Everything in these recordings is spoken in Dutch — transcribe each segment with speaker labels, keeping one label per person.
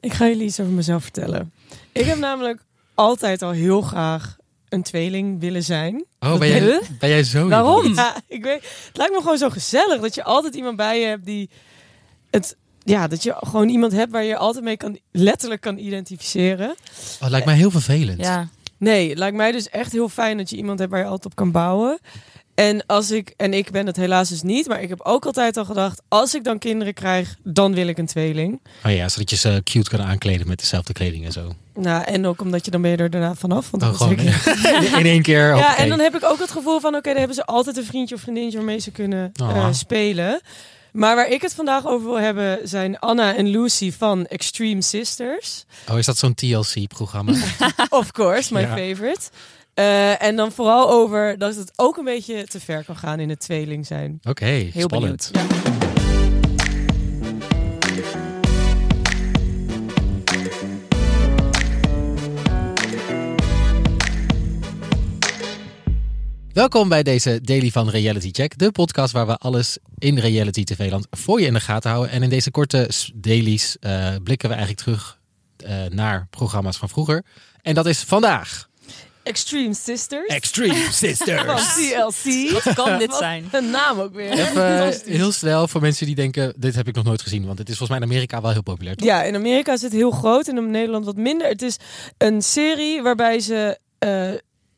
Speaker 1: Ik ga jullie iets over mezelf vertellen. Ik heb namelijk altijd al heel graag een tweeling willen zijn.
Speaker 2: Oh, ben jij, ben jij zo?
Speaker 3: Waarom?
Speaker 1: Ja, ik weet, het lijkt me gewoon zo gezellig dat je altijd iemand bij je hebt die het. Ja, dat je gewoon iemand hebt waar je je altijd mee kan, letterlijk kan identificeren.
Speaker 2: Oh, het lijkt mij heel vervelend.
Speaker 3: Ja.
Speaker 1: Nee, het lijkt mij dus echt heel fijn dat je iemand hebt waar je altijd op kan bouwen. En als ik, en ik ben dat helaas dus niet, maar ik heb ook altijd al gedacht, als ik dan kinderen krijg, dan wil ik een tweeling.
Speaker 2: Oh ja, zodat je ze cute kan aankleden met dezelfde kleding en zo.
Speaker 1: Nou, en ook omdat je dan ben je er daarna vanaf. Want
Speaker 2: Dan
Speaker 1: dan
Speaker 2: Oh, gewoon in één keer.
Speaker 1: Ja,
Speaker 2: hoppakee.
Speaker 1: en dan heb ik ook het gevoel van, oké, daar hebben ze altijd een vriendje of vriendinnetje waarmee ze kunnen eh,
Speaker 2: Ah.
Speaker 1: spelen. Maar waar ik het vandaag over wil hebben zijn Anna en Lucy van Extreme Sisters.
Speaker 2: Oh, is dat zo'n TLC-programma?
Speaker 1: Of course, my
Speaker 2: Ja.
Speaker 1: favorite. Eh, en dan vooral over dat het ook een beetje te ver kan gaan in het tweeling zijn.
Speaker 2: Oké, spannend. Welkom bij deze Daily van Reality Check, de podcast waar we alles in reality TV-land voor je in de gaten houden. En in deze korte s- dailies eh, blikken we eigenlijk terug eh, naar programma's van vroeger. En dat is vandaag
Speaker 1: Extreme Sisters
Speaker 2: Extreme
Speaker 1: van
Speaker 2: Sisters.
Speaker 1: TLC.
Speaker 3: Wat kan dit
Speaker 1: Wat
Speaker 3: zijn?
Speaker 1: Een naam ook weer.
Speaker 2: Even Eh, heel snel voor mensen die denken, dit heb ik nog nooit gezien. Want dit is volgens mij in Amerika wel heel populair. toch?
Speaker 1: Ja, in Amerika is het heel groot en in Nederland wat minder. Het is een serie waarbij ze eh,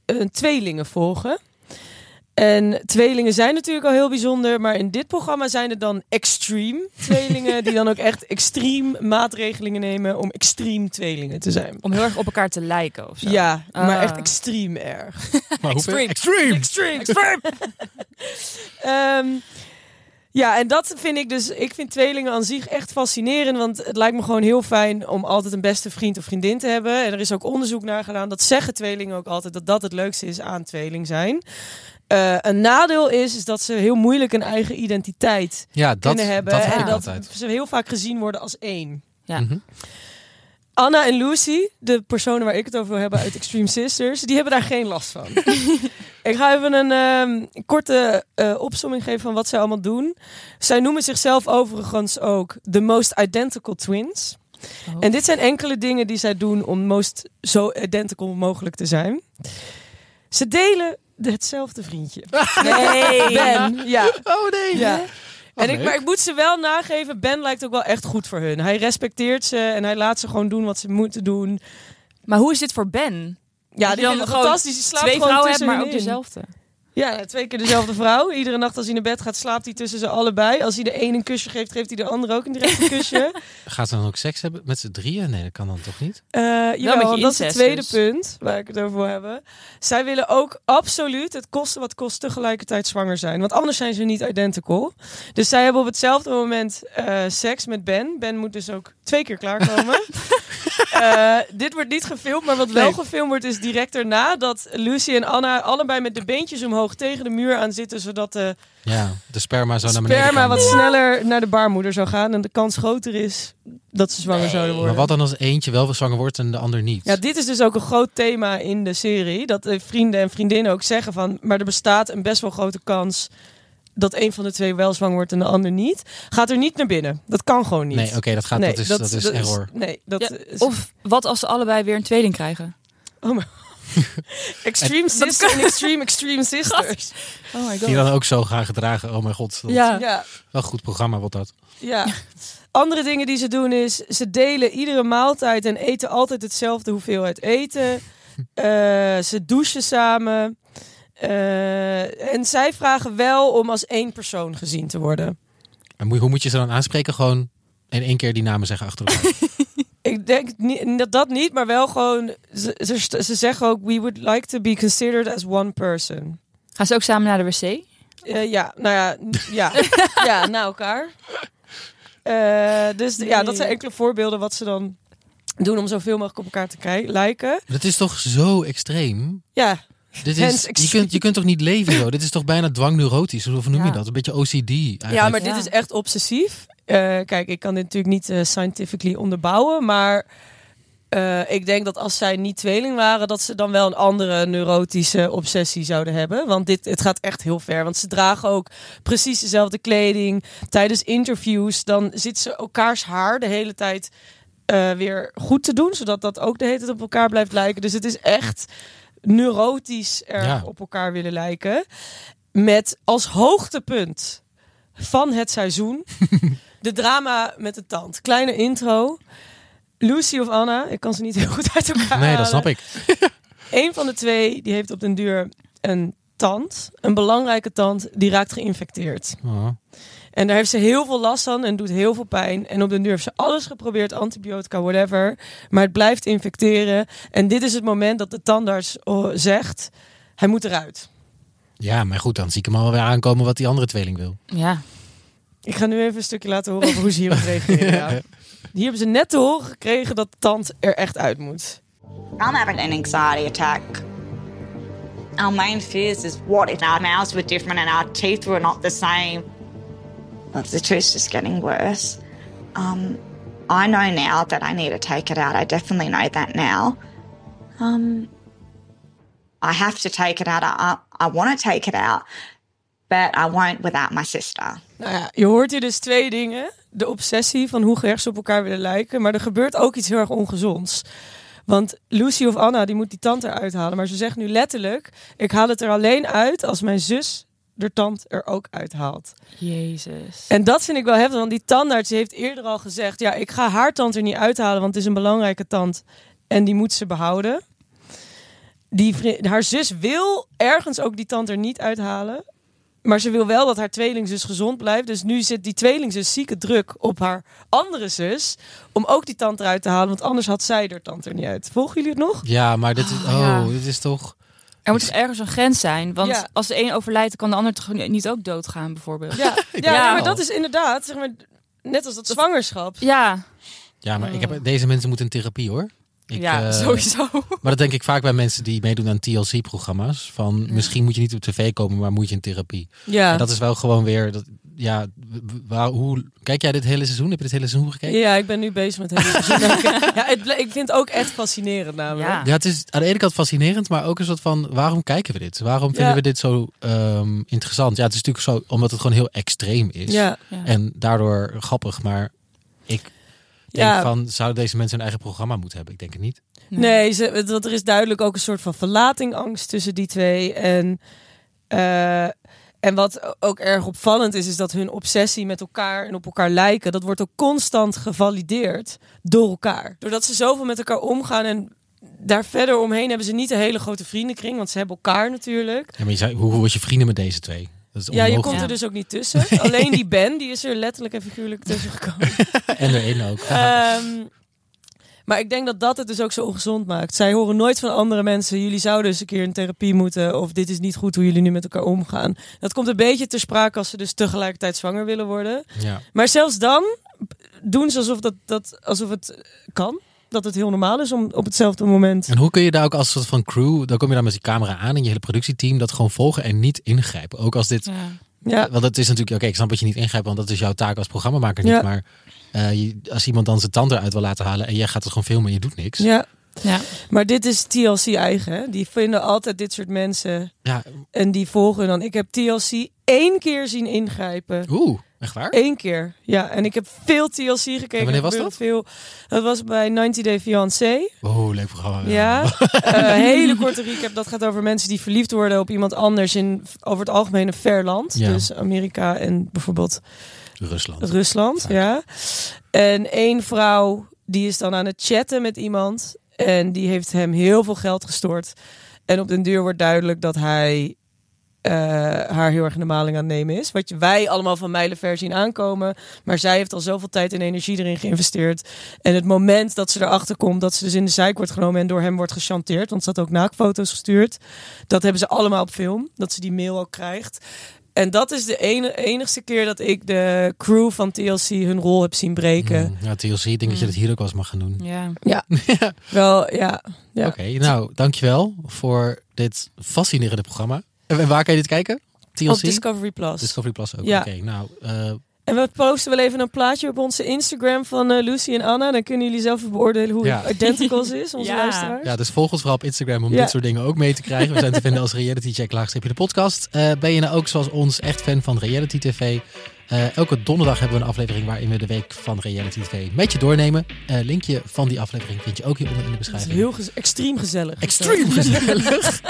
Speaker 1: een tweelingen volgen. En tweelingen zijn natuurlijk al heel bijzonder, maar in dit programma zijn het dan extreme tweelingen, die dan ook echt extreem maatregelingen nemen om extreem tweelingen te zijn.
Speaker 3: Om heel erg op elkaar te lijken of zo.
Speaker 1: Ja, maar
Speaker 3: Ah.
Speaker 1: echt extreem erg.
Speaker 2: Maar hoeveel-
Speaker 3: Extreme.
Speaker 2: Extreme.
Speaker 1: Extreem! Extreem! Ehm, ja, en dat vind ik dus. Ik vind tweelingen aan zich echt fascinerend. Want het lijkt me gewoon heel fijn om altijd een beste vriend of vriendin te hebben. En er is ook onderzoek naar gedaan. Dat zeggen tweelingen ook altijd. Dat dat het leukste is aan tweeling zijn. Eh, een nadeel is, is dat ze heel moeilijk een eigen identiteit
Speaker 2: Ja, dat,
Speaker 1: kunnen hebben.
Speaker 2: dat heb
Speaker 1: en
Speaker 2: ik
Speaker 1: dat
Speaker 2: altijd.
Speaker 1: ze heel vaak gezien worden als één.
Speaker 3: Ja.
Speaker 2: Mhm.
Speaker 1: Anna en Lucy, de personen waar ik het over wil hebben uit Extreme Sisters, die hebben daar geen last van. ik ga even een ehm, korte eh opsomming geven van wat zij allemaal doen. Zij noemen zichzelf overigens ook de Most Identical Twins.
Speaker 3: Oh.
Speaker 1: En dit zijn enkele dingen die zij doen om most zo identical mogelijk te zijn. Ze delen hetzelfde vriendje.
Speaker 3: Nee.
Speaker 1: Ben, ja.
Speaker 2: Oh nee. Oh,
Speaker 1: Ja. En ik,
Speaker 2: leuk.
Speaker 1: maar ik moet ze wel nageven, Ben lijkt ook wel echt goed voor hun. Hij respecteert ze en hij laat ze gewoon doen wat ze moeten doen.
Speaker 3: Maar hoe is dit voor Ben?
Speaker 1: Ja,
Speaker 3: Dat
Speaker 1: die
Speaker 3: je
Speaker 1: vindt het fantastisch. Die slaapt
Speaker 3: twee
Speaker 1: gewoon
Speaker 3: vrouwen hebt,
Speaker 1: tussen
Speaker 3: maar
Speaker 1: hun
Speaker 3: ook
Speaker 1: in.
Speaker 3: dezelfde.
Speaker 1: Ja, twee keer dezelfde vrouw. Iedere nacht als hij naar bed gaat, slaapt hij tussen ze allebei. Als hij de een een kusje geeft, geeft hij de ander ook een direct een kusje.
Speaker 2: Gaat ze dan ook seks hebben met z'n drieën? Nee, dat kan dan toch niet?
Speaker 1: Eh jawel,
Speaker 3: met je
Speaker 1: want dat is het
Speaker 3: incest
Speaker 1: tweede
Speaker 3: dus.
Speaker 1: punt waar ik het over wil hebben. Zij willen ook absoluut het kosten wat kost tegelijkertijd zwanger zijn. Want anders zijn ze niet identical. Dus zij hebben op hetzelfde moment eh, seks met Ben. Ben moet dus ook twee keer klaarkomen. Eh, dit wordt niet gefilmd, maar wat wel
Speaker 2: Nee.
Speaker 1: gefilmd wordt is direct daarna... dat Lucy en Anna allebei met de beentjes omhoog tegen de muur aan zitten... zodat de
Speaker 2: Ja, de sperma zo Oh, naar beneden
Speaker 1: sperma
Speaker 2: kan.
Speaker 1: wat sneller naar de baarmoeder zou gaan... en de kans groter is dat ze zwanger zouden worden.
Speaker 2: Maar wat dan als eentje wel zwanger wordt en de ander niet?
Speaker 1: Ja, dit is dus ook een groot thema in de serie. Dat eh, vrienden en vriendinnen ook zeggen van... maar er bestaat een best wel grote kans dat een van de twee wel zwanger wordt en de ander niet. Gaat er niet naar binnen. Dat kan gewoon niet.
Speaker 2: nee, oké, dat, gaat.
Speaker 1: Nee,
Speaker 2: dat is, dat, is error.
Speaker 1: nee, dat
Speaker 3: Ja,
Speaker 1: is...
Speaker 3: Of wat als ze allebei weer een tweeling krijgen?
Speaker 1: Extreme
Speaker 3: dat
Speaker 1: sisters en extreme extreme sisters.
Speaker 3: Oh my god.
Speaker 2: Die dan ook zo gaan gedragen. Oh mijn god, dat
Speaker 3: Ja.
Speaker 1: Ja,
Speaker 2: wel een goed programma wordt dat.
Speaker 1: ja. Andere dingen die ze doen is... ze delen iedere maaltijd en eten altijd hetzelfde hoeveelheid eten. Eh, ze douchen samen. Eh, en zij vragen wel om als één persoon gezien te worden.
Speaker 2: En moe- hoe moet je ze dan aanspreken? Gewoon in één keer die namen zeggen achter elkaar.
Speaker 1: Ik denk niet, dat, dat niet, maar wel gewoon. Ze, ze, st- ze zeggen ook: We would like to be considered as one person.
Speaker 3: Gaan ze ook samen naar de wc?
Speaker 1: Eh, ja, nou ja, n- ja, ja na elkaar. Eh, dus d- ja, dat zijn enkele voorbeelden wat ze dan doen om zoveel mogelijk op elkaar te kij- lijken.
Speaker 2: Dat is toch zo extreem?
Speaker 1: Ja,
Speaker 2: Dit
Speaker 1: Hence
Speaker 2: is, je,
Speaker 1: extreem.
Speaker 2: kunt, je kunt toch niet leven zo? Dit is toch bijna dwangneurotisch? Of hoe noem je
Speaker 3: Ja.
Speaker 2: dat? Een beetje OCD eigenlijk.
Speaker 1: ja maar dit
Speaker 3: Ja.
Speaker 1: is echt obsessief. Eh, kijk, ik kan dit natuurlijk niet eh, scientifically onderbouwen, maar eh, ik denk dat als zij niet tweeling waren, dat ze dan wel een andere neurotische obsessie zouden hebben. Want dit, het gaat echt heel ver, want ze dragen ook precies dezelfde kleding. Tijdens interviews, dan zitten ze elkaars haar de hele tijd eh, weer goed te doen, zodat dat ook de hele tijd op elkaar blijft lijken. Dus het is echt neurotisch erg
Speaker 2: Ja.
Speaker 1: op elkaar willen lijken. Met als hoogtepunt van het seizoen de drama met de tand. Kleine intro. Lucy of Anna, ik kan ze niet heel goed uit elkaar
Speaker 2: Nee, dat
Speaker 3: eh,
Speaker 2: snap
Speaker 1: halen.
Speaker 2: ik.
Speaker 1: Eén van de twee die heeft op den duur een tand, een belangrijke tand, die raakt geïnfecteerd.
Speaker 2: Oh.
Speaker 1: En daar heeft ze heel veel last van en doet heel veel pijn. En op den duur heeft ze alles geprobeerd, antibiotica, whatever. Maar het blijft infecteren. En dit is het moment dat de tandarts oh, zegt, hij moet eruit.
Speaker 2: Ja, maar goed, dan zie ik hem al weer aankomen wat die andere tweeling wil.
Speaker 3: Ja.
Speaker 1: Ik ga nu even een stukje laten horen over hoe ze hierop reageren. ja. Hier hebben ze net te horen gekregen dat de tand er echt uit moet.
Speaker 4: I'm having an anxiety attack. Our main fears is what if our mouths were different and our teeth were not the same? But the truth's just getting worse. Um, I know now that I need to take it out. I definitely know that now. Um, I have to take it out. I, I want to take it out, but I won't without my sister.
Speaker 1: Nou ja, je hoort hier dus twee dingen. De obsessie van hoe gerechts op elkaar willen lijken. Maar er gebeurt ook iets heel erg ongezonds. Want Lucy of Anna, die moet die tand eruit halen. Maar ze zegt nu letterlijk, ik haal het er alleen uit als mijn zus de tand er ook uithaalt.
Speaker 3: Jezus.
Speaker 1: En dat vind ik wel heftig, want die tandarts heeft eerder al gezegd... ja, ik ga haar tand er niet uithalen, want het is een belangrijke tand. En die moet ze behouden. Die vri- haar zus wil ergens ook die tand er niet uithalen. Maar ze wil wel dat haar tweelingzus gezond blijft. Dus nu zit die tweelingzus zieke druk op haar andere zus... om ook die tand eruit te halen, want anders had zij er tand er niet uit. Volgen jullie het nog?
Speaker 2: Ja, maar dit is, oh,
Speaker 3: Ah, ja.
Speaker 2: dit is toch...
Speaker 3: Er moet dus ergens een grens zijn. Want
Speaker 1: Ja.
Speaker 3: als de een overlijdt, kan de ander toch niet ook doodgaan, bijvoorbeeld.
Speaker 1: Ja, ja,
Speaker 3: Ja.
Speaker 1: maar dat is inderdaad, zeg maar, net als dat zwangerschap.
Speaker 3: Ja,
Speaker 2: Ja, maar ik heb, deze mensen moeten in therapie hoor. Ik,
Speaker 3: Hmm. ja
Speaker 2: eh,
Speaker 3: sowieso.
Speaker 2: Maar dat denk ik vaak bij mensen die meedoen aan TLC-programma's. Van
Speaker 3: Hmm.
Speaker 2: misschien moet je niet op tv komen, maar moet je in therapie.
Speaker 1: Ja,
Speaker 2: En dat is wel gewoon weer... Dat, ja, w- w- waar, hoe, kijk jij dit hele seizoen? Heb je dit hele seizoen gekeken?
Speaker 1: Ja, ik ben nu bezig met hele seizoen. ja, het ble- ik vind het ook echt fascinerend namelijk.
Speaker 3: Ja.
Speaker 2: Ja, het is aan de ene kant fascinerend, maar ook een soort van waarom kijken we dit? Waarom vinden
Speaker 1: Ja.
Speaker 2: we dit zo ehm, interessant? Ja, het is natuurlijk zo omdat het gewoon heel extreem is.
Speaker 1: Ja.
Speaker 3: Ja.
Speaker 2: En daardoor grappig, maar ik denk
Speaker 1: Ja.
Speaker 2: van, zouden deze mensen hun eigen programma moeten hebben? Ik denk het niet.
Speaker 1: Nee, ze, dat er is duidelijk ook een soort van verlatingangst tussen die twee. En, eh, en wat ook erg opvallend is, is dat hun obsessie met elkaar en op elkaar lijken, dat wordt ook constant gevalideerd door elkaar. Doordat ze zoveel met elkaar omgaan en daar verder omheen hebben ze niet een hele grote vriendenkring, want ze hebben elkaar natuurlijk.
Speaker 2: Ja, maar je zei, hoe, hoe was je vrienden met deze twee? Dat is
Speaker 1: Ja, je
Speaker 2: onmogelijk.
Speaker 1: komt
Speaker 3: Ja.
Speaker 1: er dus ook niet tussen. Alleen die Ben, die is er letterlijk en figuurlijk tussen gekomen.
Speaker 2: En er één ook.
Speaker 1: Ehm, maar ik denk dat dat het dus ook zo ongezond maakt. Zij horen nooit van andere mensen. Jullie zouden eens een keer in therapie moeten. Of dit is niet goed hoe jullie nu met elkaar omgaan. Dat komt een beetje ter sprake als ze dus tegelijkertijd zwanger willen worden.
Speaker 2: ja.
Speaker 1: Maar zelfs dan doen ze alsof, dat, dat, alsof het kan. Dat het heel normaal is om op hetzelfde moment.
Speaker 2: En hoe kun je daar ook als soort van crew, dan kom je daar met die camera aan en je hele productieteam, dat gewoon volgen en niet ingrijpen. Ook als dit
Speaker 3: Ja.
Speaker 1: Ja,
Speaker 2: Want dat is natuurlijk, oké, ik snap dat je niet ingrijpt, want dat is jouw taak als programmamaker niet.
Speaker 1: Ja.
Speaker 2: Maar eh, je- als iemand dan zijn tand eruit wil laten halen en jij gaat het gewoon filmen en je doet niks. Ja,
Speaker 1: ja.
Speaker 3: Ja.
Speaker 1: maar dit is TLC eigen. hè. Die vinden altijd dit soort mensen. En die volgen dan. Ik heb TLC één keer zien ingrijpen.
Speaker 2: oeh, echt waar?
Speaker 1: Eén keer, ja. En ik heb veel TLC gekeken.
Speaker 2: En wanneer was
Speaker 1: Er
Speaker 2: dat?
Speaker 1: gebeurt Veel. Dat was bij 90 Day Fiancé.
Speaker 2: Oh, leuk programma.
Speaker 1: Ja. Eh, hele korte recap. Dat gaat over mensen die verliefd worden op iemand anders in over het algemeen een ver land.
Speaker 2: Ja.
Speaker 1: Dus Amerika en bijvoorbeeld
Speaker 2: Rusland.
Speaker 1: Rusland. Ja. En één vrouw die is dan aan het chatten met iemand. En die heeft hem heel veel geld gestort. En op den duur wordt duidelijk dat hij eh, haar heel erg in de maling aan het nemen is. Wat je- wij allemaal van mijlenver zien aankomen. Maar zij heeft al zoveel tijd en energie erin geïnvesteerd. En het moment dat ze erachter komt dat ze dus in de zijk wordt genomen en door hem wordt gechanteerd. Want ze had ook naaktfoto's gestuurd. Dat hebben ze allemaal op film. Dat ze die mail ook krijgt. En dat is de ene, enigste keer dat ik de crew van TLC hun rol heb zien breken.
Speaker 2: Hmm, Ja, TLC, ik denk dat je
Speaker 1: Mm.
Speaker 2: dat hier ook wel eens mag gaan doen.
Speaker 3: Ja.
Speaker 1: Wel, ja. ja.
Speaker 2: Oké, nou, dankjewel voor dit fascinerende programma. En waar kan je dit kijken? TLC?
Speaker 1: Op Discovery Plus.
Speaker 2: Discovery Plus ook.
Speaker 1: Ja.
Speaker 2: Oké, nou, eh,
Speaker 1: en we posten wel even een plaatje op onze Instagram van eh, Lucy en Anna. Dan kunnen jullie zelf even beoordelen hoe
Speaker 2: Ja.
Speaker 1: Identicals is, onze
Speaker 3: Ja.
Speaker 1: luisteraars.
Speaker 2: ja, dus volg ons vooral op Instagram om
Speaker 1: Ja.
Speaker 2: dit soort dingen ook mee te krijgen. We zijn te vinden als Reality Check laagstreepje de podcast. Eh, ben je nou ook zoals ons echt fan van Reality TV? Eh, elke donderdag hebben we een aflevering waarin we de week van Reality TV met je doornemen. Eh, linkje van die aflevering vind je ook hieronder in de
Speaker 1: Dat is
Speaker 2: beschrijving.
Speaker 1: heel gez- extreem gezellig.
Speaker 2: Extreem gezellig.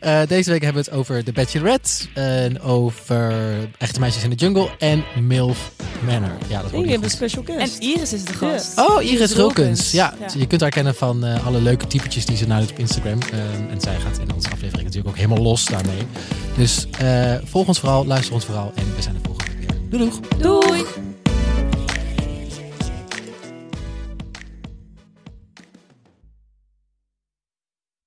Speaker 2: Eh, deze week hebben we het over The Bachelorette. En over Echte Meisjes in de Jungle. En MILF Manor. Ja, dat
Speaker 1: En
Speaker 2: hoort
Speaker 1: je
Speaker 2: niet
Speaker 1: hebt een
Speaker 2: goed.
Speaker 1: special
Speaker 3: En
Speaker 1: guest.
Speaker 3: Iris is de gast.
Speaker 2: Oh, Iris Rulkens. Ja,
Speaker 3: Ja.
Speaker 2: je kunt haar kennen van eh, alle leuke typetjes die ze nou doet op Instagram. Ehm, en zij gaat in onze aflevering natuurlijk ook helemaal los daarmee. Dus eh, volg ons vooral, luister ons vooral. En we zijn er volgende week weer. Doei doeg!
Speaker 3: Doei.